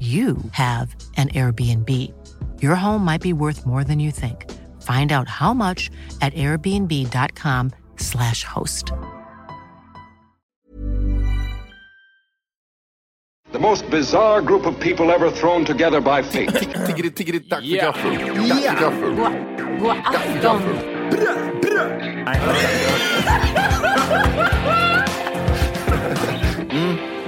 you have an Airbnb. Your home might be worth more than you think. Find out how much at airbnb.com/slash host. The most bizarre group of people ever thrown together by fate. Tiggeri, tiggeri, dack Ja. för gaffel. Dack för gaffel. God afton.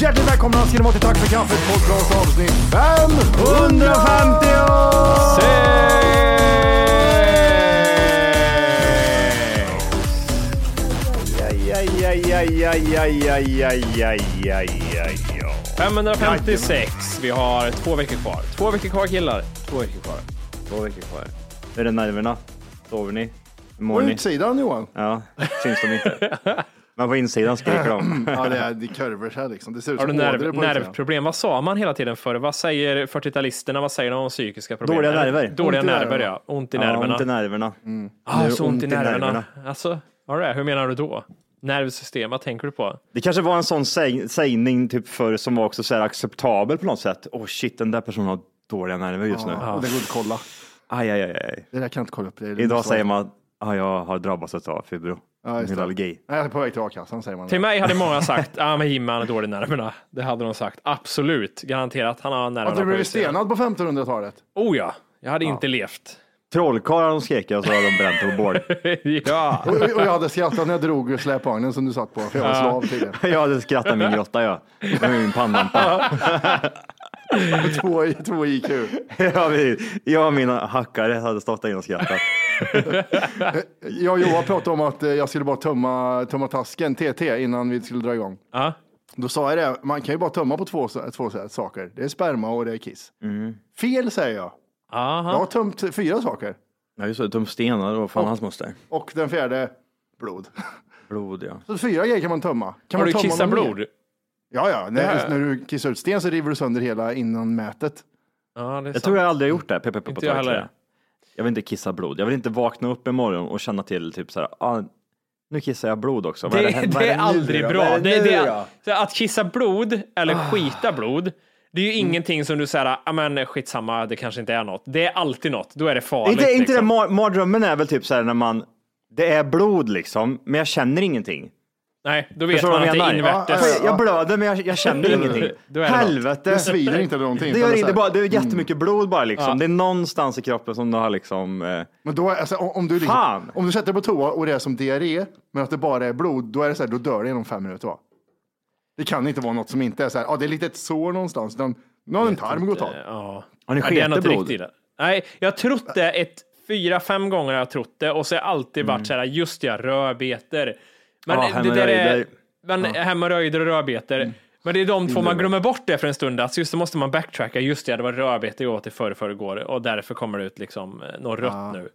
Hjärtligt välkomna ska ni vara till Tack för kaffet podcast avsnitt 550! Aj, 556. Vi har två veckor kvar. Två veckor kvar killar. Två veckor kvar. Två veckor kvar. Hur är det nerverna? Sover ni? Hur mår På ni? utsidan Johan. Ja, syns de inte. Men på insidan skriker de. Ja, det är det är kurvor så här liksom. Det ser ut Har du som ådror nerv, på utsidan. nervproblem? Vad sa man hela tiden förr? Vad säger 40-talisterna? Vad säger de om psykiska problem? Dåliga nerver. Dåliga Ont i nerver, nerverna. ja. Ont i Ja, nerverna. ont i nerverna. Mm. ah, så ont i nerverna. Alltså, all right. hur menar du då? Nervsystem, vad tänker du på? Det kanske var en sån säg- sägning typ förr som var också så här acceptabel på något sätt. Åh shit, den där personen har dåliga nerver just nu. Och det går inte att kolla. Aj, aj, aj, aj. Det där kan jag inte kolla upp. Det är Idag säger man ah, jag har drabbats av fibro. Ja, just det. Myalgi. Nej, jag är på väg till a-kassan säger man. Till mig hade många sagt, ah, men Jimmy han är dålig i nerverna. Det hade de sagt, absolut. Garanterat, han har nerverna Att du på blivit utsidan. stenad på 1500-talet. Oh ja, jag hade inte levt. Trollkarlar de skrek jag och så hade de bränt på bål. ja. Och, och jag hade skrattat när jag drog släpvagnen som du satt på, för jag var slav tydligen. Jag hade skrattat i min grotta jag. Med min pannlampa. Två, två IQ. Jag, jag och mina hackare hade stått där inne och skrattat. Jag och Johan pratade om att eh, jag skulle bara tömma, tömma tasken, TT, innan vi skulle dra igång. Ja. Då sa jag det, man kan ju bara tömma på två, sa- två så här saker. Det är sperma och det är kiss. Fel säger jag. Aha. Jag har tömt fyra saker. Ja just det, de stenar och fan hans moster. Och den fjärde, blod. Blod ja. Så fyra grejer kan man tömma. Kan man Har du tömma kissat någon mer? blod? Ja, ja. När, här- när du kissar ut sten så river du sönder hela innanmätet. Ja, det är Jag sant. tror jag aldrig har gjort det. Pepe, pepe, Inte jag heller. jag vill inte kissa blod. Jag vill inte vakna upp imorgon och känna till typ så här, ah, nu kissar jag blod också. Vad Det, här- vad det är nu aldrig då? bra. Vad är det, nu det, då? Ah. är- så att kissa blod eller skita blod, det är ju Mm. ingenting som du säger, ja men skitsamma, det kanske inte är något. Det är alltid något, då är det farligt. Inte, inte det, liksom. mar- mardrömmen är väl typ så här när man, det är blod liksom, men jag känner ingenting. Nej, då vet Förstår du man vad att det jag är menar? Ja, invärtes. ja, Jag blöder men jag, jag känner ingenting. Då är det något. Helvete. Det svider inte eller någonting. Det utan gör är så inte här- bara, Mm. det är jättemycket blod bara liksom. Det är någonstans i kroppen som du har liksom, eh, Men då, är- alltså, om, om, du liksom, Fan! om du sätter dig på toa och det är som diarré, men att det bara är blod, då är det så här, då dör det inom fem minuter va? Det kan inte vara något som inte är så här, ah, det är lite ett sår någonstans, utan nu har en tarm gått av. Ja. har ni Ja, det är sketet något blod? riktigt i det. Nej, jag har trott det ett fyra, fem gånger har jag trott det och så har jag alltid varit så här, just det, jag rödbetor. Men Mm. Ja, det där är, hemorrojder. Mm. men hemorrojder och rödbetor. Men det är de två man glömmer bort det för en stund, att just det måste man backtracka. Just det, det var rödbetor jag åt i förrförrgår och därför kommer det ut liksom eh, något rött nu.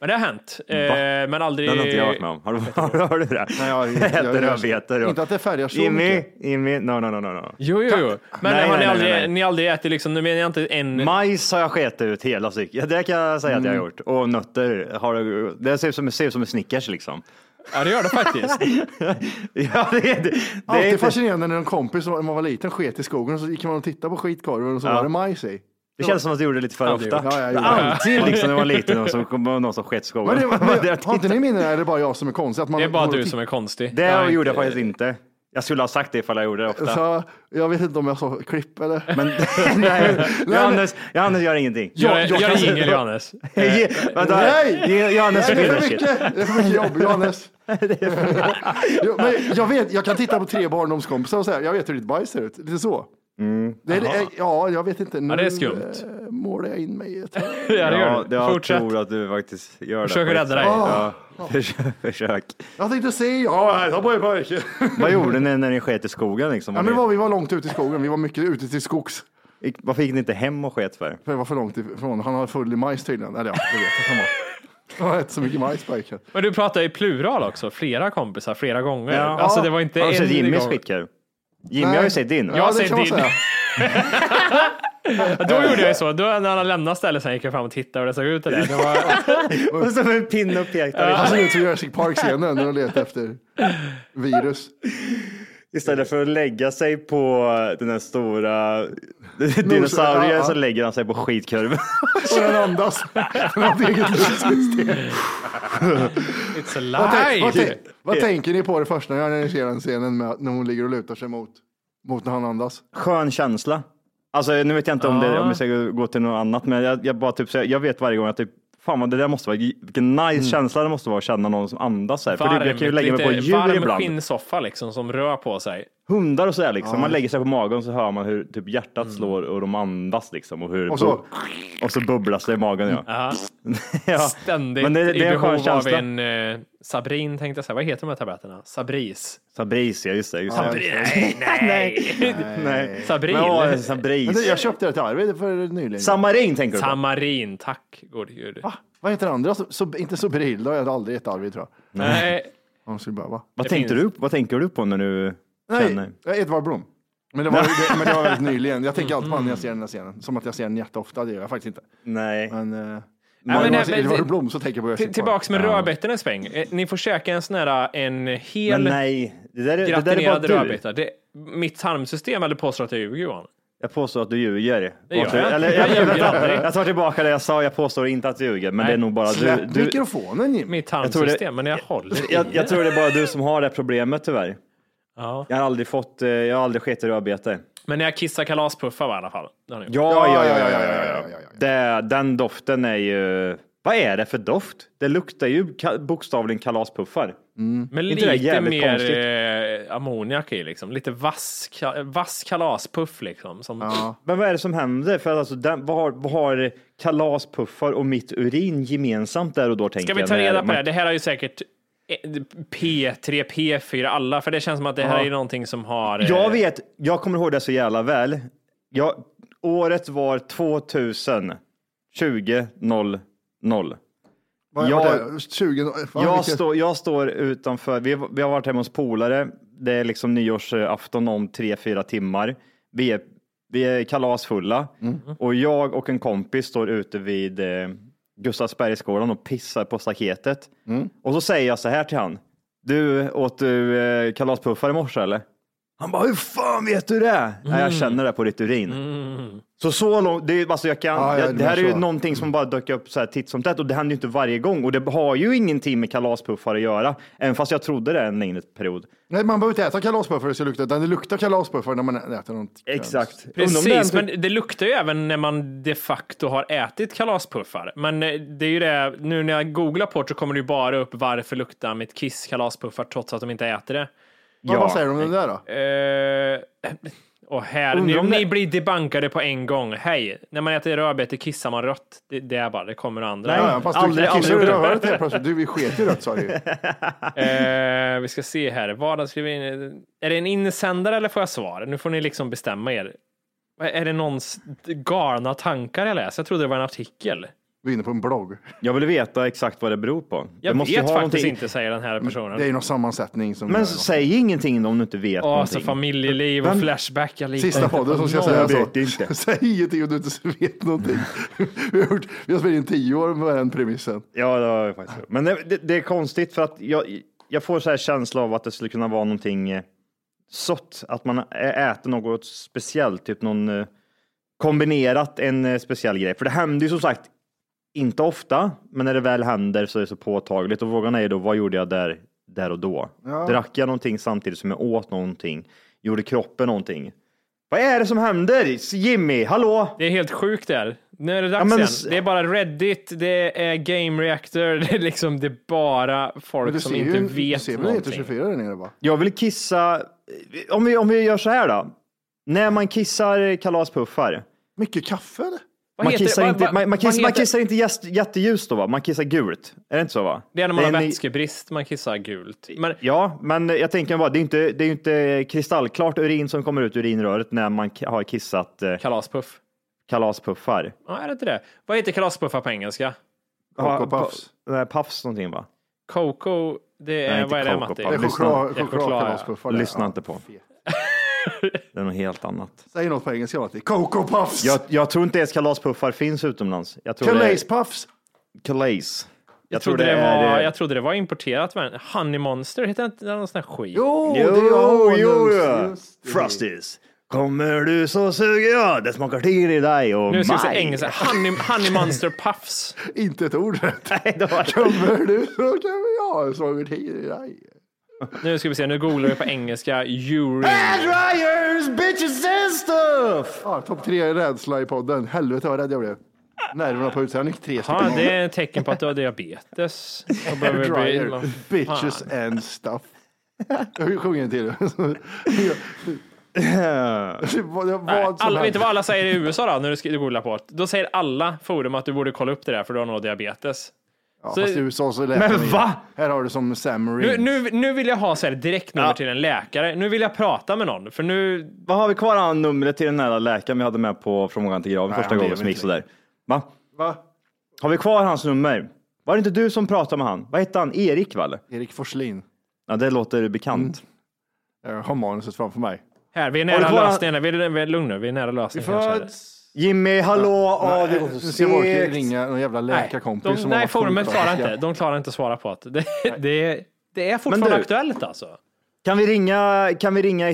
Men det har hänt. Eh, men aldrig... Det har inte jag varit med om. Har du, har du det? Eh, Nej, jag- jag- Äter jag- rödbetor och... inte att det färgar så Jimmy, mycket. Jimmy, no, no, no, no, no. Jo, jo, jo. Men Nej, har nej, ni, nej, aldrig, nej. ni har aldrig ätit liksom, nu menar jag inte en... Majs har jag sket ut hela cykeln. Ja, Det kan jag säga att jag har Mm. gjort. Och nötter. Har, jag- det ser ut som, ser ut som en Snickers liksom. Ja, det gör det faktiskt. Ja, det, det, det Alltid inte- fascinerande när en kompis när man var liten sket i skogen och så gick man och tittade på skitkorven och så var det majs i. Det känns som att du gjorde det lite för ofta. gjort. Ja, jag gjorde det. Alltid liksom när man var liten och så kom det någon som sket i skogen. Men det, Vad det jag men, har inte tittade- ni minnen eller är det bara jag som är konstig? Att man Det är bara går och du tittar- som är konstig. Det Nej. gjorde jag faktiskt inte. Jag skulle ha sagt det ifall jag gjorde det ofta. Så, jag vet inte om jag sa klipp eller. Men nej, Johannes, Johannes gör ingenting. Gör, jag- jag gör kan en säga- jingel, Johannes. Ge- Vänta, Nej! Ge- Johannes Nej, det är vinner för shit. mycket, det är för mycket jobb, Johannes. Jo, men jag vet, jag kan titta på tre barndomskompisar och säga, jag vet hur ditt bajs ser ut. Lite så. Det är, det- ja, jag vet inte. Nu Ja, det är skumt. eh, målar jag in mig i ett hörn. Ja, det Ja, gör det du. jag Fortsätt. tror att du faktiskt gör det. Försök att rädda dig. Ja, Ah. försök. försök. Jag tänkte se, ja, jag bara bajs. Vad gjorde ni när ni sket i skogen? Liksom? Ja, men var, vi var långt ute i skogen, vi var mycket ute till skogs. Gick- Varför gick ni inte hem och sket för? För det var för långt ifrån. Han har full i majs tydligen. Eller ja, det vet jag att han var. Han har ätit så mycket majs, Biker. Men du pratar i plural också. Flera kompisar, flera gånger. Ja. Alltså, det var inte Har du sett en Jimmys gång. skitkorv? Jimmy har ju sett din. Jag har det sett kan man din. säga. Då gjorde jag ju så. Då när han lämnade stället sen gick jag fram och tittade hur det såg ut. Det där. Det var, Och som en pinne och pekade Han ser ut som Jurassic Park-scenen när de letar efter virus. Istället för att lägga sig på den här stora dinosaurien ja, så ja. lägger han sig på skitkorven. Och den andas. Den har ett eget livssystem. it's Vad, tänk, a vad, lie! tänk, vad tänker ni på det första när ni ser den scenen med, när hon ligger och lutar sig mot, mot när han andas? Skön känsla. Alltså nu vet jag inte om, det, om vi ska gå till något annat, men jag, jag bara typ, så jag, jag vet varje gång att typ, fan vad det där måste vara, vilken nice Mm. känsla det måste vara att känna någon som andas här. För det, jag kan ju lägga mig på djur varm ibland. skinnsoffa liksom som rör på sig. Hundar och sådär liksom. Man lägger sig på magen så hör man hur typ hjärtat Mm. slår och de andas liksom. Och, hur, Och så- och så bubblas det i magen ja. Ja. ja. Ständigt Men det, det är i en skön behov av känsla. en eh, Sabrin tänkte jag säga. Vad heter de här tabletterna? Sabris? Sabris, ja just det. Just det. Nej, nej! Nej. Sabrin? Men, ja, Men det, Sabris. jag köpte det till Arvid för nyligen. Samarin tänker du på? Tamarin, tack gode gud. Va? Vad heter det andra? Så, så, inte Sobril, det har jag aldrig gett Arvid tror jag. Nej. Han skulle bara, va? Vad, tänkte finns. du, vad tänker du på när du Nej, känner? Edvard Blom. Men det, var, det, men det var väldigt nyligen. Jag tänker alltid på honom när jag ser den här scenen. Som att jag ser den jätteofta, det gör jag faktiskt inte. Nej. Men, eh, när men jag nej, ser men det- Edvard Blom så tänker jag på Till- Jurassic Park. Tillbaks med rödbetorna en sväng. Eh, Ni får käka en sån här, eh, en Men hel nej, det där, är- det där är gratinerad bara du. rödbeta. Det- Mitt tarmsystem eller påstår att jag ljuger Johan? Jag påstår att du ljuger. gör Påstår- jag. Eller, jag, Jag ljuger jag, aldrig. jag tar tillbaka det jag sa, jag påstår inte att du ljuger, men det är nog bara du. Släpp du mikrofonen Jimmy. Mitt tror det- tarmsystem, men jag håller i. jag, jag tror det är bara du som har det problemet tyvärr. Ja. Jag har aldrig fått, eh, jag har aldrig skett i rödbete. Men när jag kissar kalaspuffar var i alla fall. Det har ni gjort. Ja, ja, ja, ja, ja, ja, ja, ja, ja, ja. Det, den doften är ju, vad är det för doft? Det luktar ju ka, bokstavligen kalaspuffar. Men inte det lite jävligt mer eh, ammoniak i liksom. Lite vass, ka- vass kalaspuff liksom. Som, Men vad är det som händer? För alltså, den, vad, har, vad har kalaspuffar och mitt urin gemensamt där och då? Tänker Ska vi jag, ta när reda på man- det? Det här är ju säkert eh, P3, P4, alla. För det känns som att det här är någonting som har... eh, Jag vet, jag kommer ihåg det så jävla väl. Jag, året var 2000, 20, 0, 0. Vad- Jag- vad är det? 20... fan, Jag, vilket- står- jag står utanför, vi, vi har varit hemma hos polare, det är liksom nyårsafton om tre, fyra timmar. Vi är, vi är kalasfulla Mm. och jag och en kompis står ute vid eh, Gustavsbergsgården och pissar på staketet. Mm. Och så säger jag så här till han, du åt du eh, kalaspuffar i morse eller? Han bara, hur fan vet du det? Nej, Mm. jag känner det på ditt urin. Så så långt, det, är- alltså jag kan, Ja, ja, jag- det det här var är ju så. någonting som bara dök upp så här titt som tätt och det händer ju inte varje gång och det har ju ingenting med kalaspuffar att göra. Även fast jag trodde det en längre period. Nej, man behöver inte äta kalaspuffar för det ska lukta, utan det luktar kalaspuffar när man äter något. Exakt. Precis, men det luktar ju även när man de facto har ätit kalaspuffar. Men eh, det är ju det, nu när jag googlar på det så kommer det ju bara upp varför luktar mitt kiss kalaspuffar trots att de inte äter det. Vad, vad säger du om det där då? Eh, och här, Undrar nu, om det- ni blir debankade på en gång. Hej, när man äter rödbetor kissar man rött. Det, det är bara, det kommer det andra. Ja, ja, fast aldrig- du kissar aldrig ju gjort det. rövhålet helt plötsligt. Du, vi sket ju rött sa du ju. Eh, vi ska se här. Vardags skriver in. Är det en insändare eller får jag svar? Nu får ni liksom bestämma er. Är det någons galna tankar jag läser? Jag trodde det var en artikel. Du är inne på en blogg. Jag vill veta exakt vad det beror på. Jag det måste ju vet ha faktiskt någonting- inte, säger den här personen. Det är ju någon sammansättning som... Men säg ingenting om du inte vet Ja, någonting. så familjeliv och Vem- flashbackar lite. Sista podden som ska säga Jag så. vet inte. Säg ingenting om du inte vet någonting. vi, har gjort, vi har spelat in tio år med den premissen. Ja, det har jag faktiskt gjort. Men det, det, det är konstigt för att jag, jag får så här känsla av att det skulle kunna vara någonting eh, sött. Att man ä- äter något speciellt, typ någon eh, kombinerat en eh, speciell grej. För det händer ju som sagt inte ofta, men när det väl händer så är det så påtagligt. Och frågan är ju då, vad gjorde jag där, där och då? Drack jag någonting samtidigt som jag åt någonting? Gjorde kroppen någonting? Vad är det som händer? Jimmy, hallå? Det är helt sjukt där. Nu är det dags men s- igen. Det är bara Reddit, det är Game Reactor, det är liksom det är bara Men folk du som ser inte ju, du vet ser väl inte någonting. 24 där nere va? Jag vill kissa. eh, Om vi, om vi gör så här då. När man kissar kalaspuffar. Mycket kaffe eller? Vad Man heter det? kissar, Vad- inte, vad- man, man vad kissar, man heter- kissar inte jäst, jätteljust då va? Man kissar gult. Är det inte så va? Det är när man har en- vätskebrist, man kissar gult. Men Ja, men jag tänker bara, det är ju inte, det är ju inte kristallklart urin som kommer ut ur urinröret när man k- har kissat eh, kalaspuff? kalaspuffar. Ja, är det inte det? Vad heter kalaspuffar på engelska? Ja, Coco pa- Puffs. Nej, puffs någonting va? Coco, det är, Nej, inte vad är det Coco Matti? Det är Puffs. Lyssna. choklad- Det är choklad, chokladkalaspuffar. där. Lyssna Ja. inte på. Det är något helt annat. Säg något på engelska Matti. Coco Puffs! Jag, jag tror inte ens kalaspuffar finns utomlands. Jag tror det är Calais Puffs! Calais. Jag, Jag trodde, det är, var, eh, jag trodde det var importerat. men Honey Monster, heter inte det någon sån här skit? Jo, det är Jo, jo, ja. jo. Just det. Frosties. Kommer du så suger jag, det smakar till i dig och nu ska vi säga mig. engelska. Honey, honey Monster Puffs. Inte ett ord rätt. Nej, det var- Kommer du så kommer jag. Så går det i dig. Nu ska vi se, nu googlar vi på engelska. Urine. Hair Dryers, bitches and stuff! Ja, topp tre rädsla i podden. Helvete vad rädd jag blev. Nerverna på utsidan. Jag fick tre stycken. Ja, det är ett tecken på att du har diabetes. Då behöver vi bli- Dryer, bitches eh, and stuff. Jag sjunger en till. Det var- det var Nej, vad som Alla, vet du helst. vad alla säger i USA då, när du ska- du googlar på det? Då säger alla forum att du borde kolla upp det där för du har nog diabetes. Ja, så- fast i USA så lät Men de ju- va? Här har du som Sam Nu, Reed. nu, nu vill jag ha så här direktnummer Ja. till en läkare. Nu vill jag prata med någon, för nu... Vad har vi kvar av numret till den där läkaren vi hade med på Från vågan till graven Nej, första han gången lever som gick inte sådär? Va? Va? Har vi kvar hans nummer? Var det inte du som pratade med han? Vad hette han? Erik va? eller? Erik Forslin. Ja, det låter bekant. Mm. Jag har manuset framför mig. Här, vi är Har nära du kvar- lösningen. Vi är, vi är lugn nu, vi är nära lösningen. kanske. Jimmy, hallå! Ja, det går Nu så ska jag orka segt. ringa någon jävla Nej, läkarkompis. de, som har nej varit forumet sjuk klarar på- inte. De klarar inte att svara på att det, det, det är fortfarande du- aktuellt alltså. Kan vi ringa, kan vi ringa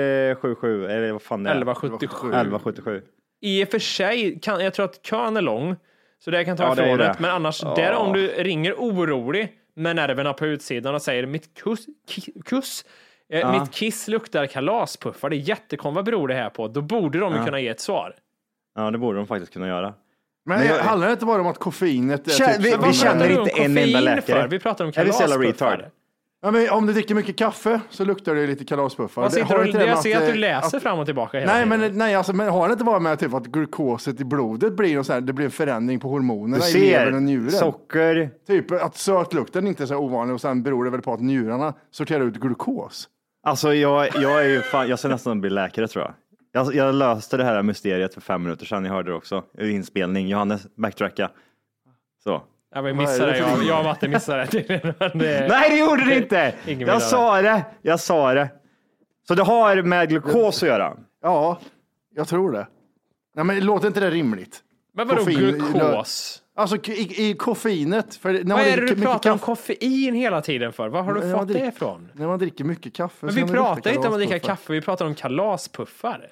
1177 eller vad fan det är? 1177. 1177. I och för sig, kan, jag tror att kön är lång, så det kan ta Ja, det är ifrån det. det. Men annars, där om du ringer orolig med nerverna på utsidan och säger mitt kuss, ki, kuss eh, mitt kiss luktar kalaspuffar, det är jättekonstigt, vad beror det här på? Då borde de ju kunna ge ett svar. Ja, det borde de faktiskt kunna göra. Men Men jag- handlar det inte bara om att koffeinet är typ Kä- vi- som- vi känner- Pratar du om inte en enda koffein läkare. För? Vi pratar om Är vi så jävla kalaspuffar. retard? Ja, men om du dricker mycket kaffe så luktar det lite kalaspuffar. Vad Det- sitter har du, inte det jag med ser att du eh, läser fram och tillbaka hela Nej, tiden. men, nej alltså, men har det inte bara med typ att glukoset i blodet blir någon så här, det blir en förändring på Du hormonerna i levern och ser, njuren? socker. Typ att sötlukten inte är så här ovanlig och sen beror det väl på att njurarna sorterar ut glukos. Alltså jag, jag är ju fan, jag ska nästan bli läkare tror jag. jag. Jag löste det här mysteriet för fem minuter sedan, ni hörde det också. I Inspelning, Johannes, backtracka. Så. Ja, men Vad är missade det för jag. linje? Jag och Matte missade det tydligen. men eh, det- Nej, det gjorde det inte! Ingen vill Jag sa det, jag sa det. Så det har med glukos att göra. Ja, jag tror det. Nej, men låter inte det rimligt? Men vadå Koffein- glukos? Alltså k- i, i koffeinet. För när man Vad är dricker det du mycket pratar om kaffe- koffein hela tiden för? Var har du Ja, fått drick- det ifrån? När man dricker mycket kaffe. Men så vi kan det lukta pratar inte om att dricka kalaspuffar. kaffe, vi pratar om kalaspuffar.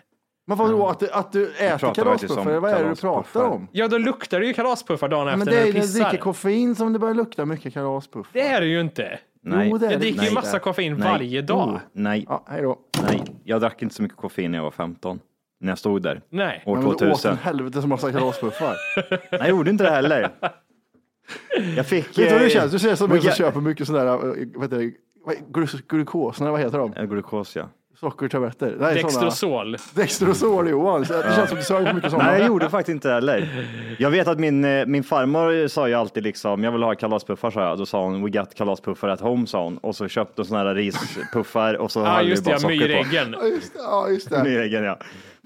Men vadå, att, du- att du äter pratar faktiskt om kalaspuffar? Vad är det du pratar kalaspuffar. om? Ja, då luktar det ju kalaspuffar dagen Men efter det när är ju du när du dricker pissar. koffein som det börjar lukta mycket kalaspuffar. Det är det ju inte. Nej. Jo, det är Jag det. dricker ju Nej. massa koffein Nej. varje dag. Oh, nej, Ja, hej då. nej. Jag drack inte så mycket koffein när jag var 15. När jag stod där. Nej. År Men du åt 2000. en helvetes massa kalaspuffar. Nej, jag gjorde inte det heller. Jag fick... Vet du hur eh, det känns? Du ser som en som vilka- köper mycket sådana där, eh, vad heter det, vad- glus- glukos, nej, vad heter de? Eh, Glukos, ja. Sockertabletter? Nej, såna. Dextrosol. Dextrosol, Johan. Så Det känns som du sög på mycket sådana. Nej, jag gjorde faktiskt inte det heller. Jag vet att min, eh, min farmor sa ju alltid liksom, jag vill ha kalaspuffar sa jag. Då sa hon, we got kalaspuffar at home sa hon. Och så köpte hon sådana här rispuffar och så Ja, hade just vi det, bara ja, socker på. myräggen. Ja, just det. Ja, just det. Myräggen. ja.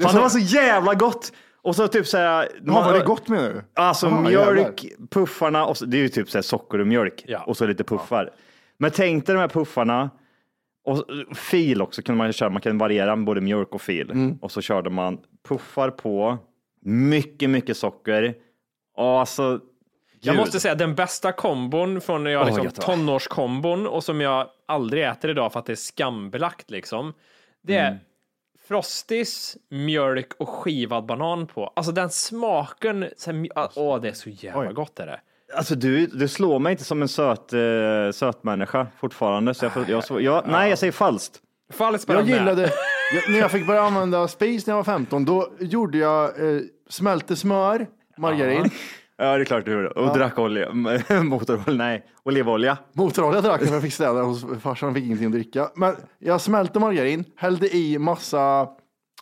Fan, det var så jävla gott! Och så typ så här. Jaha, var det gott menar du? Alltså Jaha, mjölk, jävlar. puffarna, och så, det är ju typ så här socker och mjölk Ja. och så lite puffar. Men tänk dig de här puffarna och fil också kunde man ju köra. Man kan variera med både mjölk och fil och så körde man puffar på mycket, mycket socker. Och alltså. Jag ljud. måste säga den bästa kombon från när jag liksom, gött, va? tonårskombon och som jag aldrig äter idag för att det är skambelagt liksom. Det är Mm. Frosties, mjölk och skivad banan på. Alltså den smaken. så här, mj- Alltså. Åh, det är så jävla gott är det. Alltså du, du slår mig inte som en söt, eh, söt människa fortfarande. Så jag, får, jag, jag, jag, nej, jag säger falskt. Fallet spelar Jag med. gillade, jag, när jag fick börja använda Space när jag var 15, då gjorde jag eh, smälte smör, margarin, Ja, det är klart du gjorde. Och drack olja. Motorolja, nej, olivolja. motorolja drack jag för jag fick städa hos farsan, fick ingenting att dricka. Men jag smälte margarin, hällde i massa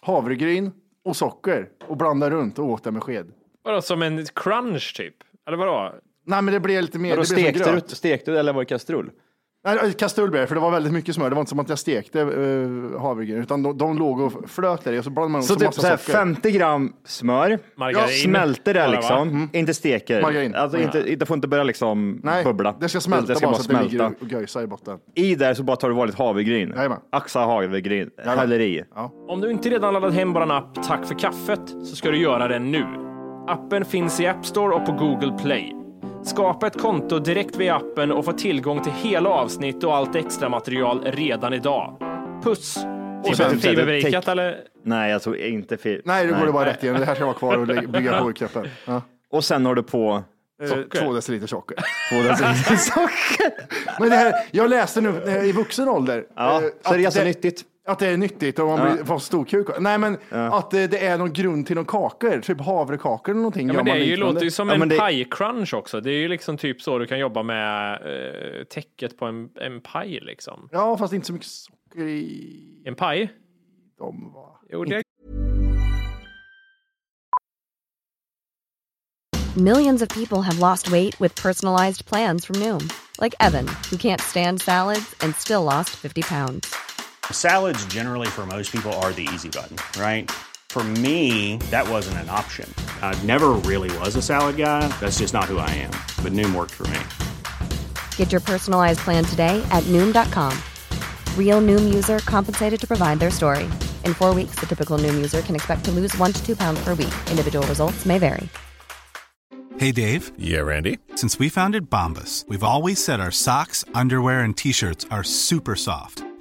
havregryn och socker och blandade runt och åt det med sked. Vadå, som en crunch typ? Eller vadå? Nej, men det blev lite mer. Då Det blev stekte som du, gröt. stekte du eller var det kastrull? Nej, kastrull blev det, för det var väldigt mycket smör. Det var inte som att jag stekte eh, havregryn, utan de, de låg och flöt där i och så blandade man Så också typ massa så här socker. 50 gram smör, Margarin. smälter det Bara, va? liksom, inte steker. Mm. Margarin. Alltså inte, det får inte börja liksom Nej, bubbla. det ska smälta det ska bara, bara så att det smälta. ligger och göjsar i botten. I där så bara tar du vanligt havregryn, Jajamän. axa havregryn, häller i. Om du inte redan laddat hem bara app Tack för kaffet så ska du göra det nu. Appen finns i App Store och på Google Play. Skapa ett konto direkt via appen och få tillgång till hela avsnitt och allt extra material redan idag. Puss! Och sen- sen fiberbreakat Take- eller? Nej, jag tror inte fel. Nej, då går det bara rätt igen. Det här ska vara kvar och lä- bygga på i kroppen. Ja. Och sen har du på Eh, Socker. Två deciliter socker. två deciliter socker. Men det här, jag läste nu eh, i vuxen ålder. Ja, eh, så det är att ganska nyttigt. Att det är nyttigt och man blir, får stor kuk. Nej, men att eh, det är någon grund till någon kakor, typ havrekakor eller någonting. Ja, men det gör är man ju, liknande. låter ju som Ja, men en det- pajcrunch också. Det är ju liksom typ så du kan jobba med eh, täcket på en, en paj liksom. Ja, fast inte så mycket socker i En paj? dem. Va? Jo, det Millions of people have lost weight with personalized plans from Noom, like Evan, who can't stand salads and still lost 50 pounds. Salads, generally, for most people, are the easy button, right? For me, that wasn't an option. I never really was a salad guy. That's just not who I am. But Noom worked for me. Get your personalized plan today at Noom.com. Real Noom user compensated to provide their story. In four weeks, the typical Noom user can expect to lose one to two pounds per week. Individual results may vary. Hey, Dave. Yeah, Randy. Since we founded Bombus, we've always said our socks, underwear, and t shirts are super soft.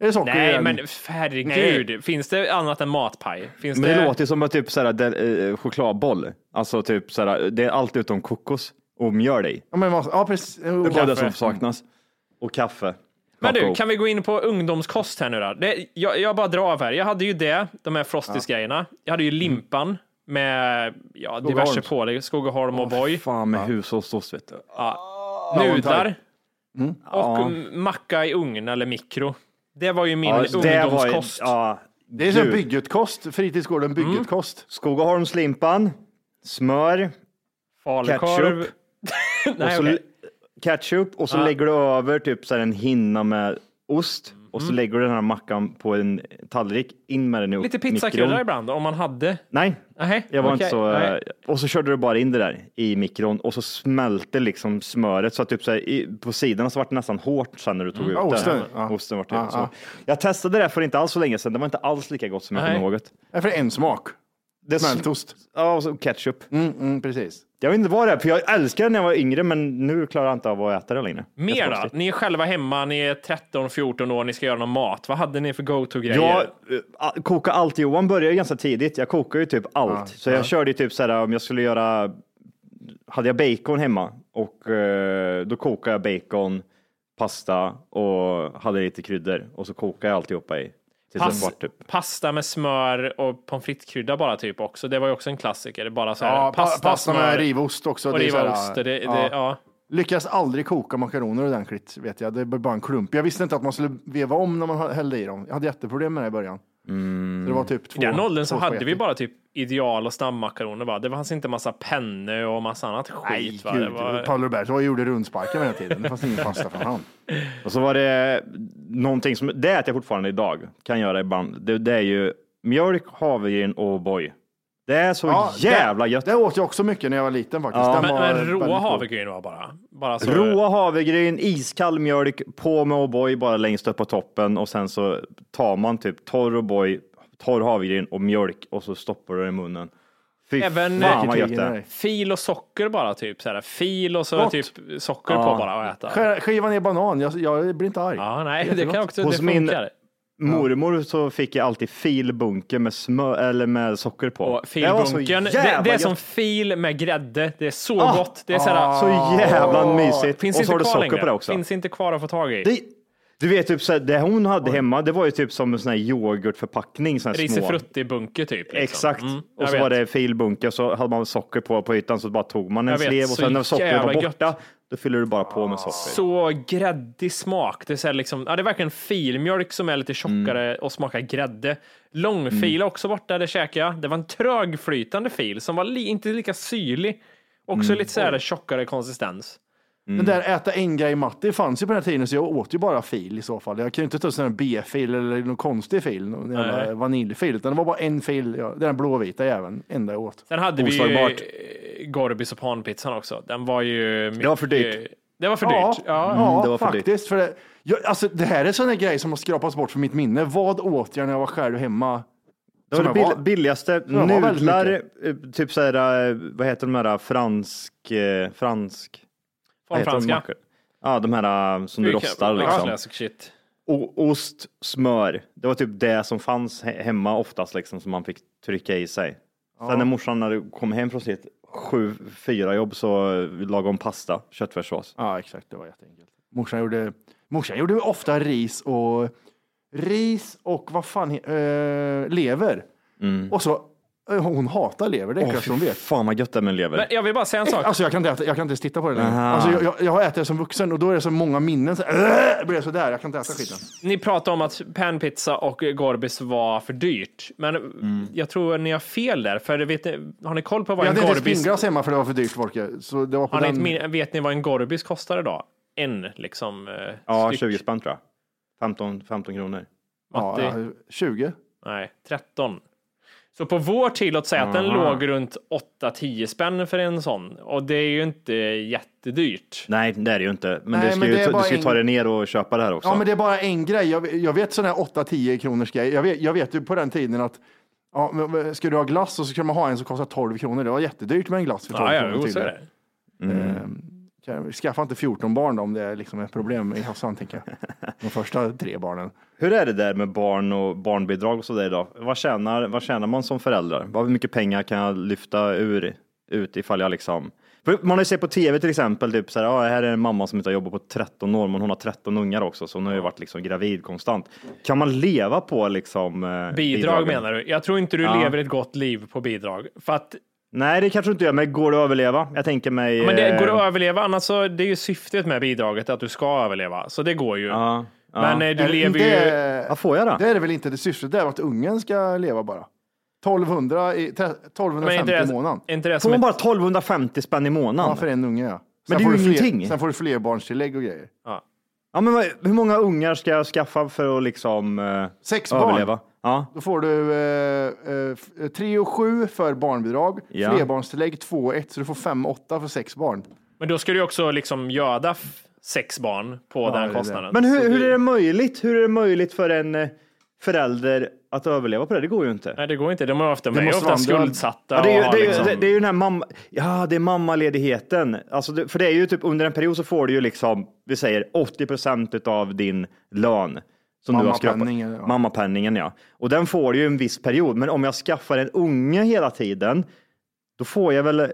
Är det socker i Nej, den? men herregud. Finns det annat än matpaj? Finns Men det, låter ju som att typ såhär, del, eh, chokladboll. Alltså typ såhär, det är allt utom kokos och mjöl i. Ja, men vad- ja, precis. Oh, Det är bara det kaffe. som saknas. Mm. Och kaffe. Men du, Kakao. kan vi gå in på ungdomskost här nu då? Det, jag, jag bara drar av här. Jag hade ju det, de här Frosties-grejerna. Jag hade ju Mm. limpan med ja, diverse Skogaholms. pålägg, Skogaholm och Voi. Fan med hushållssås vet du. Nudlar. Mm. Och m- macka i ugn eller mikro. Det var ju min var ju- ungdomskost. ja, Det är som du. byggetkost, fritidsgården byggetkost. Mm. Skogaholmslimpan, smör, Falukorv. ketchup. och Nej, så okej. l- ketchup och så lägger du över typ så här en hinna med ost och så lägger du den här mackan på en tallrik, in med den i Mm. Lite mikron. pizzakrullar ibland om man hade. Nej, Nej, jag var okej. inte så... Nej. Och så körde du bara in det där i mikron och så smälte liksom smöret så att typ så här, i, på sidorna så vart det nästan hårt sen när du tog ut Mm. Ja, osten. det. Ja. Osten vart det. Ja, så. ja. Jag testade det för inte alls så länge sedan. Det var inte alls lika gott som jag Nej. kommer ihåg det. Nej, för det är en smak. Det Smältost. Ja, och så ketchup. Mm, mm, precis. Jag vet inte vad det är, för jag älskade det när jag var yngre, men nu klarar jag inte av att äta det längre. Mer då? Ni är själva hemma, ni är 13-14 år, ni ska göra någon mat. Vad hade ni för go-to-grejer? Jag eh, a- kokar allt. Johan började ju ganska tidigt. Jag kokar ju typ allt. så jag körde ju typ så här om jag skulle göra, hade jag bacon hemma och eh, då kokade jag bacon, pasta och hade lite kryddor och så kokade jag alltihopa i. Tills den var typ. Pasta med smör och pommes frites-krydda bara typ också. Det var ju också en klassiker. Bara så här, Ja, pa- pasta, pasta med smör rivost också. Och Det är så här, rivost. Det, det, ja. det, ja. Lyckas aldrig koka makaroner ordentligt vet jag. Det är bara en klump. Jag visste inte att man skulle veva om när man hällde i dem. Jag hade jätteproblem med det i början. Så det var typ två. I den åldern så två hade vi spagetti. bara typ ideal och snabbmakaroner. Va? Det fanns inte massa penne och massa annat skit. Nej, va? Det gud. var... Paul Roberto var- gjorde rundsparkar vid den tiden. Det fanns ingen pasta från han. Och så var det någonting som, det äter jag fortfarande idag, kan göra ibland. Det, det är ju mjölk, havregryn och O'boy. Det är så Ja, jävla det, gött. Det åt jag också mycket när jag var liten faktiskt. Ja. Den Men, var men väldigt råa god. havregryn var bara. bara alltså- så... Råa havregryn, iskall mjölk, på med O'boy bara längst upp på toppen och sen så tar man typ torr O'boy, torr havregryn och mjölk och så stoppar du det i munnen. Fy Även- eh, fan vad Vilket gött det ligger är. där. Fil och socker bara typ. Så här. Fil och så Gott. typ socker Ja. på bara och äta. Skär- Eh, Skiva ner banan. Jag, jag blir inte arg. Ja, nej, det kan Jättegott. också, Hos det min- funkar. Mormor så fick jag alltid filbunke med, smör, eller med socker på. Och Det var så filbunken, det, det, jävla är gött. som fil med grädde. Det är så Ah, gott. Det är så här, Ah! Så jävla mysigt. Finns och inte så har du kvar socker längre. på det också. Finns inte kvar att få tag i. Det, du vet, typ, så här, det hon hade hemma, det var ju typ som en sån här yoghurtförpackning. Sån här små. Risifrutti-bunke typ. Liksom. Exakt. Mm, jag och så vet. var det filbunke och så hade man socker på, på ytan så bara tog man en Jag vet, slev och så sen när sockret var jävla Ah, borta, då fyller du bara på med socker. Så gräddig smak. Det är, så här liksom, ja, det är verkligen filmjölk som är lite tjockare och smakar grädde. Långfil är också borta, det käkade jag. Det var en trögflytande fil som var li, inte lika syrlig. Också lite så här tjockare konsistens. Mm. Den där äta en grej matte fanns ju på den här tiden så jag åt ju bara fil i så fall. Jag kunde ju inte ta sån här B-fil eller någon konstig fil, någon jävla Nej. vaniljfil, utan det var bara en fil, ja, den blåvita jäveln, enda jag åt. Sen hade Oslagbart. vi ju Gorbis och panpizzan också. Den var ju... Mycket, var för dyrt. Mm. Det var för Ja, dyrt. ja, Ja. Mm, det var för faktiskt. För det, jag, alltså, det här är sån här grej som har skrapats bort från mitt minne. Vad åt jag när jag var själv hemma? Det Som var det jag var. bill- billigaste. jag var väldigt Nudlar, eh, typ så här, eh, vad heter de här, fransk, eh, fransk? vad heter de Formfranska. mackor? Ja, de här eh, som du rostar liksom. Classic shit. O- ost, smör. Det var typ det som fanns he- hemma oftast liksom som man fick trycka i sig. Sen när morsan när du kom hem från sitt sju, fyra jobb så eh, lagade hon pasta, köttfärssås. Ja, exakt. Det var jätteenkelt. Morsan gjorde, morsan gjorde ofta ris och ris och vad fan, he- eh, lever. Mm. Och så, eh, hon hatar lever, det är klart hon vet. Fan vad gött det är med lever. Men jag vill bara säga en sak. Alltså jag kan inte, äta, jag kan inte ens titta på det längre. Aha. Alltså, jag, jag, jag har ätit det som vuxen och då är det så många minnen. Så, äh, blir det sådär, jag kan inte äta skiten. Ni pratade om att panpizza och Gorbis var för dyrt, men Mm. jag tror ni har fel där. För vet ni, har ni koll på vad Jag en hade inte ens Gorbis... vinglas hemma för det var för dyrt Folke. Så det var på Har ni ett den... min, vet ni vad en Gorbis kostar idag? En liksom... eh, ja, styck. 20 spänn tror jag. 15, 15 kronor. ja, ja, 20. Nej, 13. Så på vår tid, låt säga att den låg runt 8-10 spänn för en sån. Och det är ju inte jättedyrt. Nej, det är det ju inte. Men Nej, du ska, men ju, det är ta- bara du ska ju ta en- dig ner och köpa det här också. Ja, men det är bara en grej. Jag, jag vet sån här 8-10 kronors grej. Jag vet, jag vet ju på den tiden att ja, men- men ska du ha glass och så kan man ha en som kostar 12 kronor. Det var jättedyrt med en glass för 12 Ja, ja, kronor jo, så är tydligen. det. Kan- Skaffa inte 14 barn då, om det är liksom ett problem i Hassan, tänker jag. De första tre barnen. Hur är det där med barn och barnbidrag och sådär idag? Vad tjänar, vad tjänar man som föräldrar? Vad- Hur mycket pengar kan jag lyfta ur, ut ifall jag liksom... För man har ju sett på tv till exempel, typ så här, ah, här är en mamma som inte har jobbat på 13 år, men hon har 13 ungar också, så hon har ju varit liksom gravid konstant. Kan man leva på liksom... eh, Bidrag bidragen? menar du? Jag tror inte du Ja. lever ett gott liv på bidrag. För att Nej, det kanske du inte gör, men går det att överleva? Jag tänker mig... Men det går eh, att överleva, annars så det är ju syftet med bidraget att du ska överleva. Så det går ju. Ja, ja. Men eh, du Eller lever inte- ju... Vad får jag då? Det är det väl inte det syftet, det är att ungen ska leva bara. 1200 i, tre- Men är 1250 inte i det, månaden. är inte det Får som man ett, bara 1250 spänn i månaden? Ja, för en unge ja. Men det är får ju du fler- ingenting. Sen får du flerbarnstillägg och grejer. Ja, men vad, hur många ungar ska jag skaffa för att liksom eh, Sex barn. överleva? Ja. Då får du eh, eh, f- tre och sju för barnbidrag, Ja. flerbarnstillägg två och ett, så du får fem och åtta för sex barn. men då ska du ju också liksom göda f- sex barn på det är den det. kostnaden. Men Så hur, hur du- är det möjligt? Hur är det möjligt för en eh, förälder att överleva på det? Det går ju inte. Nej, det går inte. De är ofta, de är måste ofta vara andra- skuldsatta. Ja, det, är och ju, har det, är ju, liksom, det, det är ju den här mamma, ja, det är mammaledigheten. Alltså det, för det är ju typ under en period så får du ju liksom, vi säger 80 procent av din lön. Som du har skrapat- Mammapenningen, ja. Mammapenningen ja. Och den får du ju en viss period. Men om jag skaffar en unge hela tiden, Då får jag väl eh,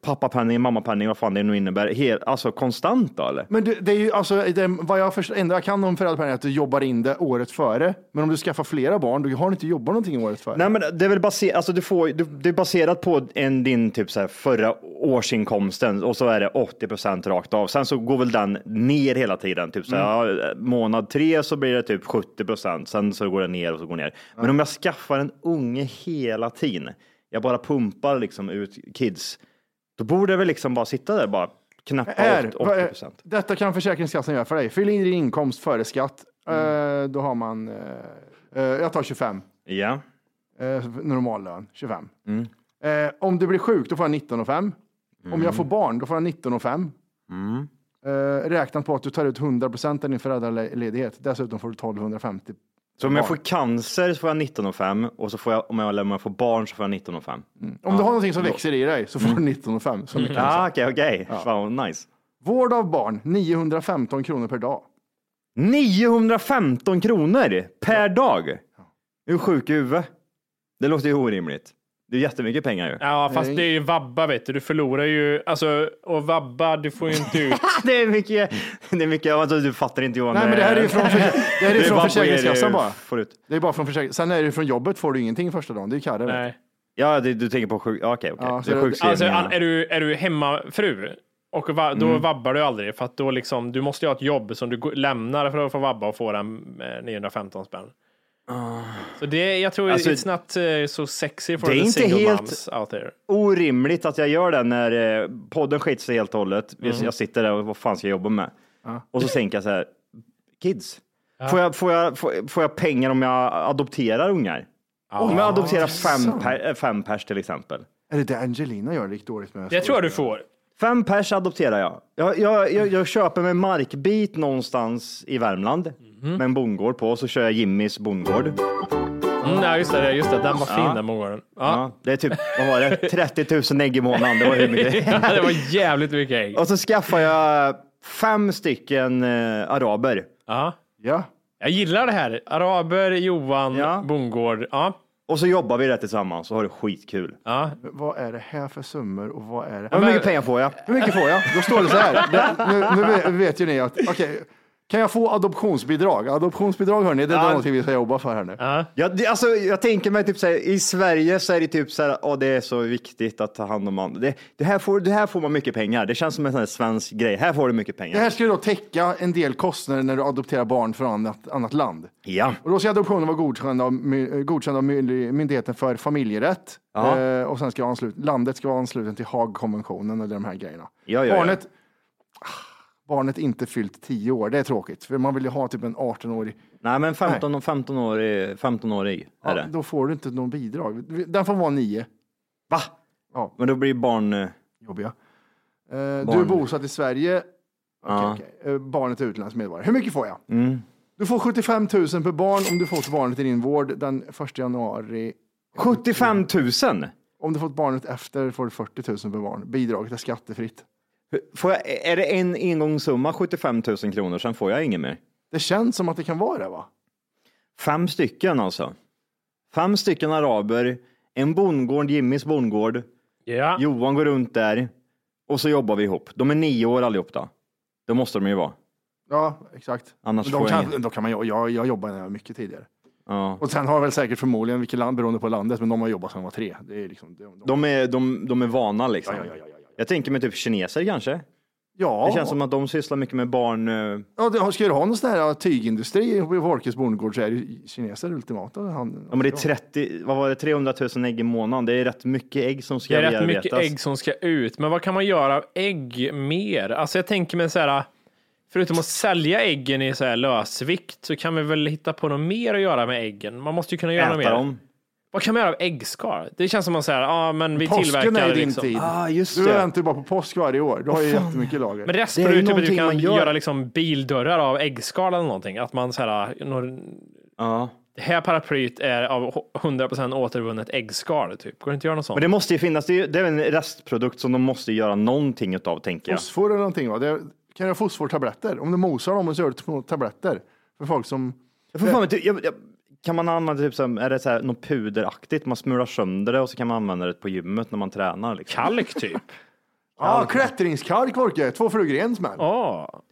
pappapenning, mammapenning, vad fan det nu innebär, helt, alltså konstant då eller? Men du, det är ju alltså, det, vad jag förstår, enda jag kan om föräldrapenning är att du jobbar in det året före. Men om du skaffar flera barn, då har du inte jobbat någonting året före. Nej, men det är väl baserat, alltså du får, du, det är baserat på en, din typ så här förra årsinkomsten och så är det 80 procent rakt av. Sen så går väl den ner hela tiden. Typ så här, ja, månad tre så blir det typ 70 procent. Sen så går det ner och så går det ner. Men om jag skaffar en unge hela tiden, jag bara pumpar liksom ut kids, då borde jag väl liksom bara sitta där bara knappa Här, 80 vad- procent. detta kan Försäkringskassan göra för dig. Fyll in din inkomst före skatt. Mm. Eh, då har man, eh, eh, jag tar 25, Ja. eh, normallön, 25. Mm. Eh, om du blir sjuk, då får jag 19 och 5. Om Mm. jag får barn, då får jag 19 och 5. Mm. Eh, räknat på att du tar ut 100 procent av din föräldraledighet. Dessutom får du 1250. Så om jag barn. får cancer så får jag 19 och 5 och så får jag, om jag, om jag får barn så får jag 19 och 5. Om du har någonting som växer i dig så får du 19 och 5. Så mycket. Mm. Ja, okej, okej. Fan, vad nice. Vård av barn, 915 kronor per dag. 915 kronor per dag. Är du sjuk i huvudet? Det låter ju orimligt. Det är jättemycket pengar ju. Ja, fast det är ju vabba vet du. Du förlorar ju, alltså, och vabba, du får ju inte ut. det är mycket, Mm. det är mycket, alltså, du fattar inte Johan. Nej, men det här är ju från, det här är ju Det är från bara på er Försäkringskassan det bara. får ut. Det är bara från försäkring. Sen är det från jobbet får du ingenting första dagen. Det är karre. vet du. Ja, det, du tänker på sjuk, ja, okej, okej. Ja, så det är det- Alltså, sjukskrivningarna. an- är du, är du hemmafru och va, då Mm. vabbar du aldrig för att då liksom, du måste ju ha ett jobb som du gå- lämnar för att få vabba och få den eh, 915 spänn. Så det, jag tror Ah. Alltså, it's not eh, so sexy for det är the inte single helt- moms out there. orimligt att jag gör det när eh, podden skiter sig helt och hållet. Vi- Mm. Jag sitter där och vad fan ska jag jobba med? Ja. Och så tänker jag så här, kids, får, jag, får, jag, får, får jag pengar om jag adopterar ungar? om jag adopterar fem, intressant. per, eh, fem pers till exempel. Är det det Angelina gör? Det gick dåligt med. Det tror jag du får. Fem pers adopterar jag. Jag, jag, jag, jag köper mig markbit någonstans i Värmland Mhm. med en bondgård på och så kör jag Jimmys bondgård. Mm, ja, just det, just det. Den var fin Ja. den morgonen. Ja, det är typ, vad var det, 30 000 ägg i månaden. Det var hur mycket. ja, det var jävligt mycket ägg. Och så skaffar jag fem stycken eh, araber. Ja. Ja. Jag gillar det här. Araber, Johan, bondgård. Ja. Och så jobbar vi där tillsammans och har det skitkul. Ja. Vad är det här för summor och vad är det? Hur mycket pengar får jag? Hur mycket får jag? Då står det så här. Det, nu, nu vet- vet ju ni att, okej, kan jag få adoptionsbidrag? Adoptionsbidrag hörni, det är Ja. någonting vi ska jobba för här nu. Jag, det, alltså, jag tänker mig typ så här, i Sverige så är det typ så här, åh, det är så viktigt att ta hand om andra. Det, det, här får, det här får man mycket pengar. Det känns som en sån här svensk grej. Här får du mycket Det pengar. här ska ju då täcka en del kostnader när du adopterar barn från annat, annat land. Ja. Och då ska adoptionen vara godkänd av, my- godkänd av my- Myndigheten för familjerätt. Ja. Eh, och sen ska vara anslut, landet ska vara ansluten till Haagkonventionen eller de här grejerna. Ja, ja, ja. barnet, Ah, barnet inte fyllt 10 år, det är tråkigt. För man vill ju ha typ en 18-årig. Nej, men 15, 15 år i, 15 år i är Ja, det. då får du inte någon bidrag. Den får vara 9. Va? Ja. Men då blir barn... eh, Jobbiga. Eh, du är Barn. bosatt i Sverige. Okej, Ja. okej. Eh, barnet är utländsk medborgare. Hur mycket får jag? Mm. Du får 75 000 per barn om du fått barnet i din vård den 1 januari 75 000? Om du fått barnet efter får du 40 000 per barn. Bidraget är skattefritt. Får jag, är det en engångssumma, 75 000 kronor, sen får jag inget mer? Det känns som att det kan vara det va? Fem stycken alltså. Fem stycken araber, en bondgård, Jimmys bondgård. Ja. Johan går runt där och så jobbar vi ihop. De är nio år allihop då. Det måste de ju vara. Ja, exakt. Annars Men får de jag kan, då kan man, jag, jag, jag jobbar när jag var mycket tidigare. Ja. Och sen har väl säkert förmodligen, vilket land, beroende på landet, men de har jobbat sedan de var tre. Det är liksom, de, de, De är, de, de är vana liksom. Ja, ja, ja, ja, ja, Jag tänker mig typ kineser kanske. ja, Det känns som att de sysslar mycket med barn. eh, ja, det- ska du ha någon sån här tygindustri i Wolkes bondgård så är det ju kineser ultimata. Han, Ja, men det är 30, vad var det, 300 000 ägg i månaden. Det är rätt mycket ägg som Det ska är rätt bearbetas. mycket ägg som ska ut, men vad kan man göra av ägg mer? Alltså jag tänker mig så här, förutom att sälja äggen i så här lösvikt så kan vi väl hitta på något mer att göra med äggen? Man måste ju kunna göra något mer. Äta dem. Vad kan man göra av äggskal? Det känns som att man säger, ja ah, men vi Påsken är tillverkar ju din liksom. tid. Ah, just du det. väntar ju bara på påsk varje år. Du har ju jättemycket lager. Men Det resten är är ju typ att du någonting kan man gör. göra liksom bildörrar av äggskal eller någonting. Att man så här, når- Ja. det här paraplyet är av 100% återvunnet äggskal typ. Går det inte att göra något sånt? Men det måste ju finnas, det är ju- det är en restprodukt som de måste göra någonting utav tänker jag. Fosfor eller någonting va? Det, kan du ha fosfortabletter? Om du mosar dem och så gör du små tabletter. För folk som... Jag får fan, inte- jag, jag, kan man använda typ som, är det så här, något puderaktigt, man smular sönder det och så kan man använda det på gymmet när man tränar. Liksom. Kalk typ? Ja, klättringskalk Volke. Två flugor i en smäll. Ja.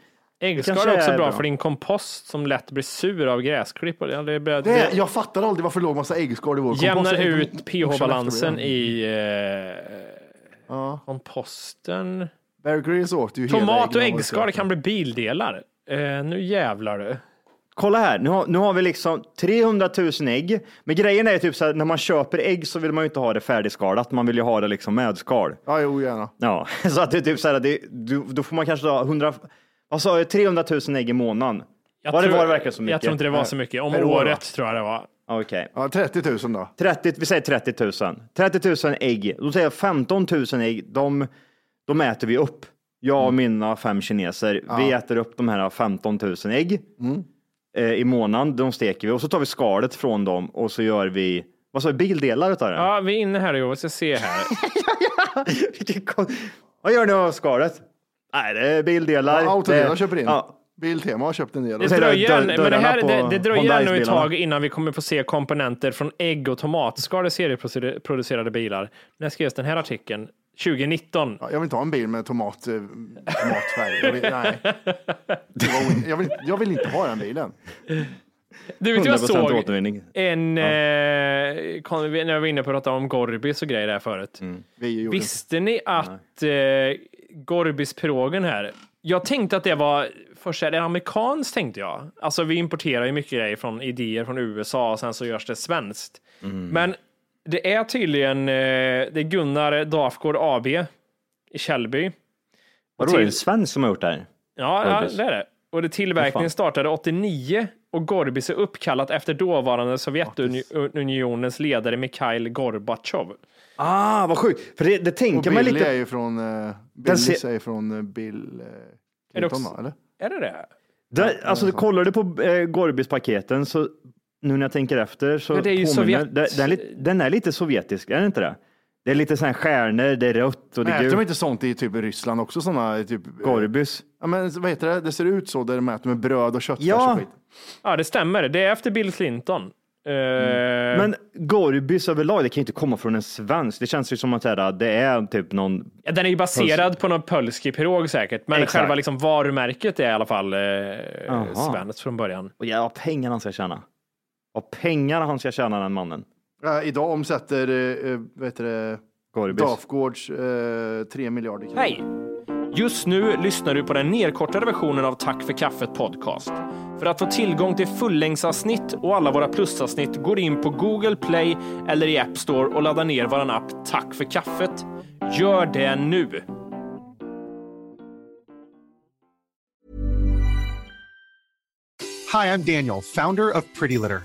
Äggskal kanske är också är bra bra. för din kompost som lätt blir sur av gräsklipp. Och det, det, det, Det är, jag fattar aldrig varför det låg massa äggskal i vår kompost. jämnar Jag vet inte ut hur- hur pH-balansen det i eh, komposten. Bear Grylls åt ju hela Tomat och äggen. äggskal kan bli bildelar. Eh, nu jävlar du. Kolla här, nu har, nu har vi liksom 300 000 ägg. Men grejen är typ så här, när man köper ägg så vill man ju inte ha det färdigskalat, man vill ju ha det liksom med skal. Ja, jo, gärna. Ja, så att det är typ så här, det, du, då får man kanske ha 100, alltså 300 000 ägg i månaden. Jag var, det, tror- var det verkligen så mycket? Jag tror inte det var så mycket. Om Per år, alltså. va? året tror jag det var. Okej. Ja, 30 000 då. 30, vi säger 30 000. 30 000 ägg. Då säger jag 15 000 ägg, de, de äter vi upp. Jag och mina fem kineser, vi äter upp de här 15 000 ägg eh, i månaden. De steker vi och så tar vi skalet från dem och så gör vi, vad sa vi, bildelar utav det? Ja, vi är inne här och vi ska se här. Vad gör ni av skalet? Nej, det är bildelar. Ja, Autodelar Det- köper in. Ja, Biltema har köpt en del. Det dröjer, dörr- en- men det här, dörrarna det, på det dröjer nu ett Hyundai-bilarna. tag innan vi kommer få se komponenter från ägg och tomatskal i serieproducerade bilar. När skrevs den här artikeln? 2019. Ja, jag vill inte ha en bil med tomat, eh, tomatfärg. Jag vill, nej. Det var o- Jag vill, jag vill inte ha den bilen. Du vet, jag 100% såg återvinning. en, eh, kon- när jag var inne på att prata om Gorbis och grejer där förut. Mm. Vi gjorde inte. Visste ni att eh, Gorbis-pirogen här, jag tänkte att det var, först är det amerikanskt tänkte jag. Alltså vi importerar ju mycket grejer från idéer från USA och sen så görs det svenskt. Mm. Men det är tydligen, eh, det är Gunnar Dafgård AB i Källby. Vadå, är det en svensk som har gjort det här? Ja, ja Gorbis. det är det. Och det tillverkningen startade 89 och Gorbis är uppkallat efter dåvarande Sovjetunionens ledare Mikhail Gorbatjov. Ah, vad sjukt. För det, det Och tänker man Billy lite. är ju från, eh, Billy ser- är ju från eh, Bill eh, Clinton, också- va, eller? Är det det? Där, alltså, kollar du på eh, Gorbis-paketen så nu när jag tänker efter så Men det är ju påminner Sovjet. den, den, är lite- den är lite sovjetisk, är den inte det? Det är lite sån här stjärnor, det är rött och det är Äter de gult. inte sånt i typ Ryssland också? Såna, typ, eh, Gorbis. ja, men, vad heter det? Det ser ut så där de äter med bröd och köttfärs Ja. och skit. Ja, det stämmer. Det är efter Bill Clinton. Eh, Men Gorbis överlag, det kan ju inte komma från en svensk. Det känns ju som att så här, det är typ någon... ja, den är ju baserad på någon polski pirog säkert, men Exakt. själva liksom varumärket är i alla fall eh, Aha. svenskt från början. Och jävla pengar han ska tjäna. Vad pengar han ska tjäna den mannen. Ja, idag omsätter eh, eh, vad heter det, Gorbis. Dafgårds eh, 3 miljarder kronor. Hej! Just nu lyssnar du på den nedkortade versionen av Tack för kaffet podcast. För att få tillgång till fullängdsavsnitt och alla våra plusavsnitt går in på Google Play eller i App Store och laddar ner vår app Tack för kaffet. Gör det nu! Hi, I'm Daniel, founder of Pretty Litter.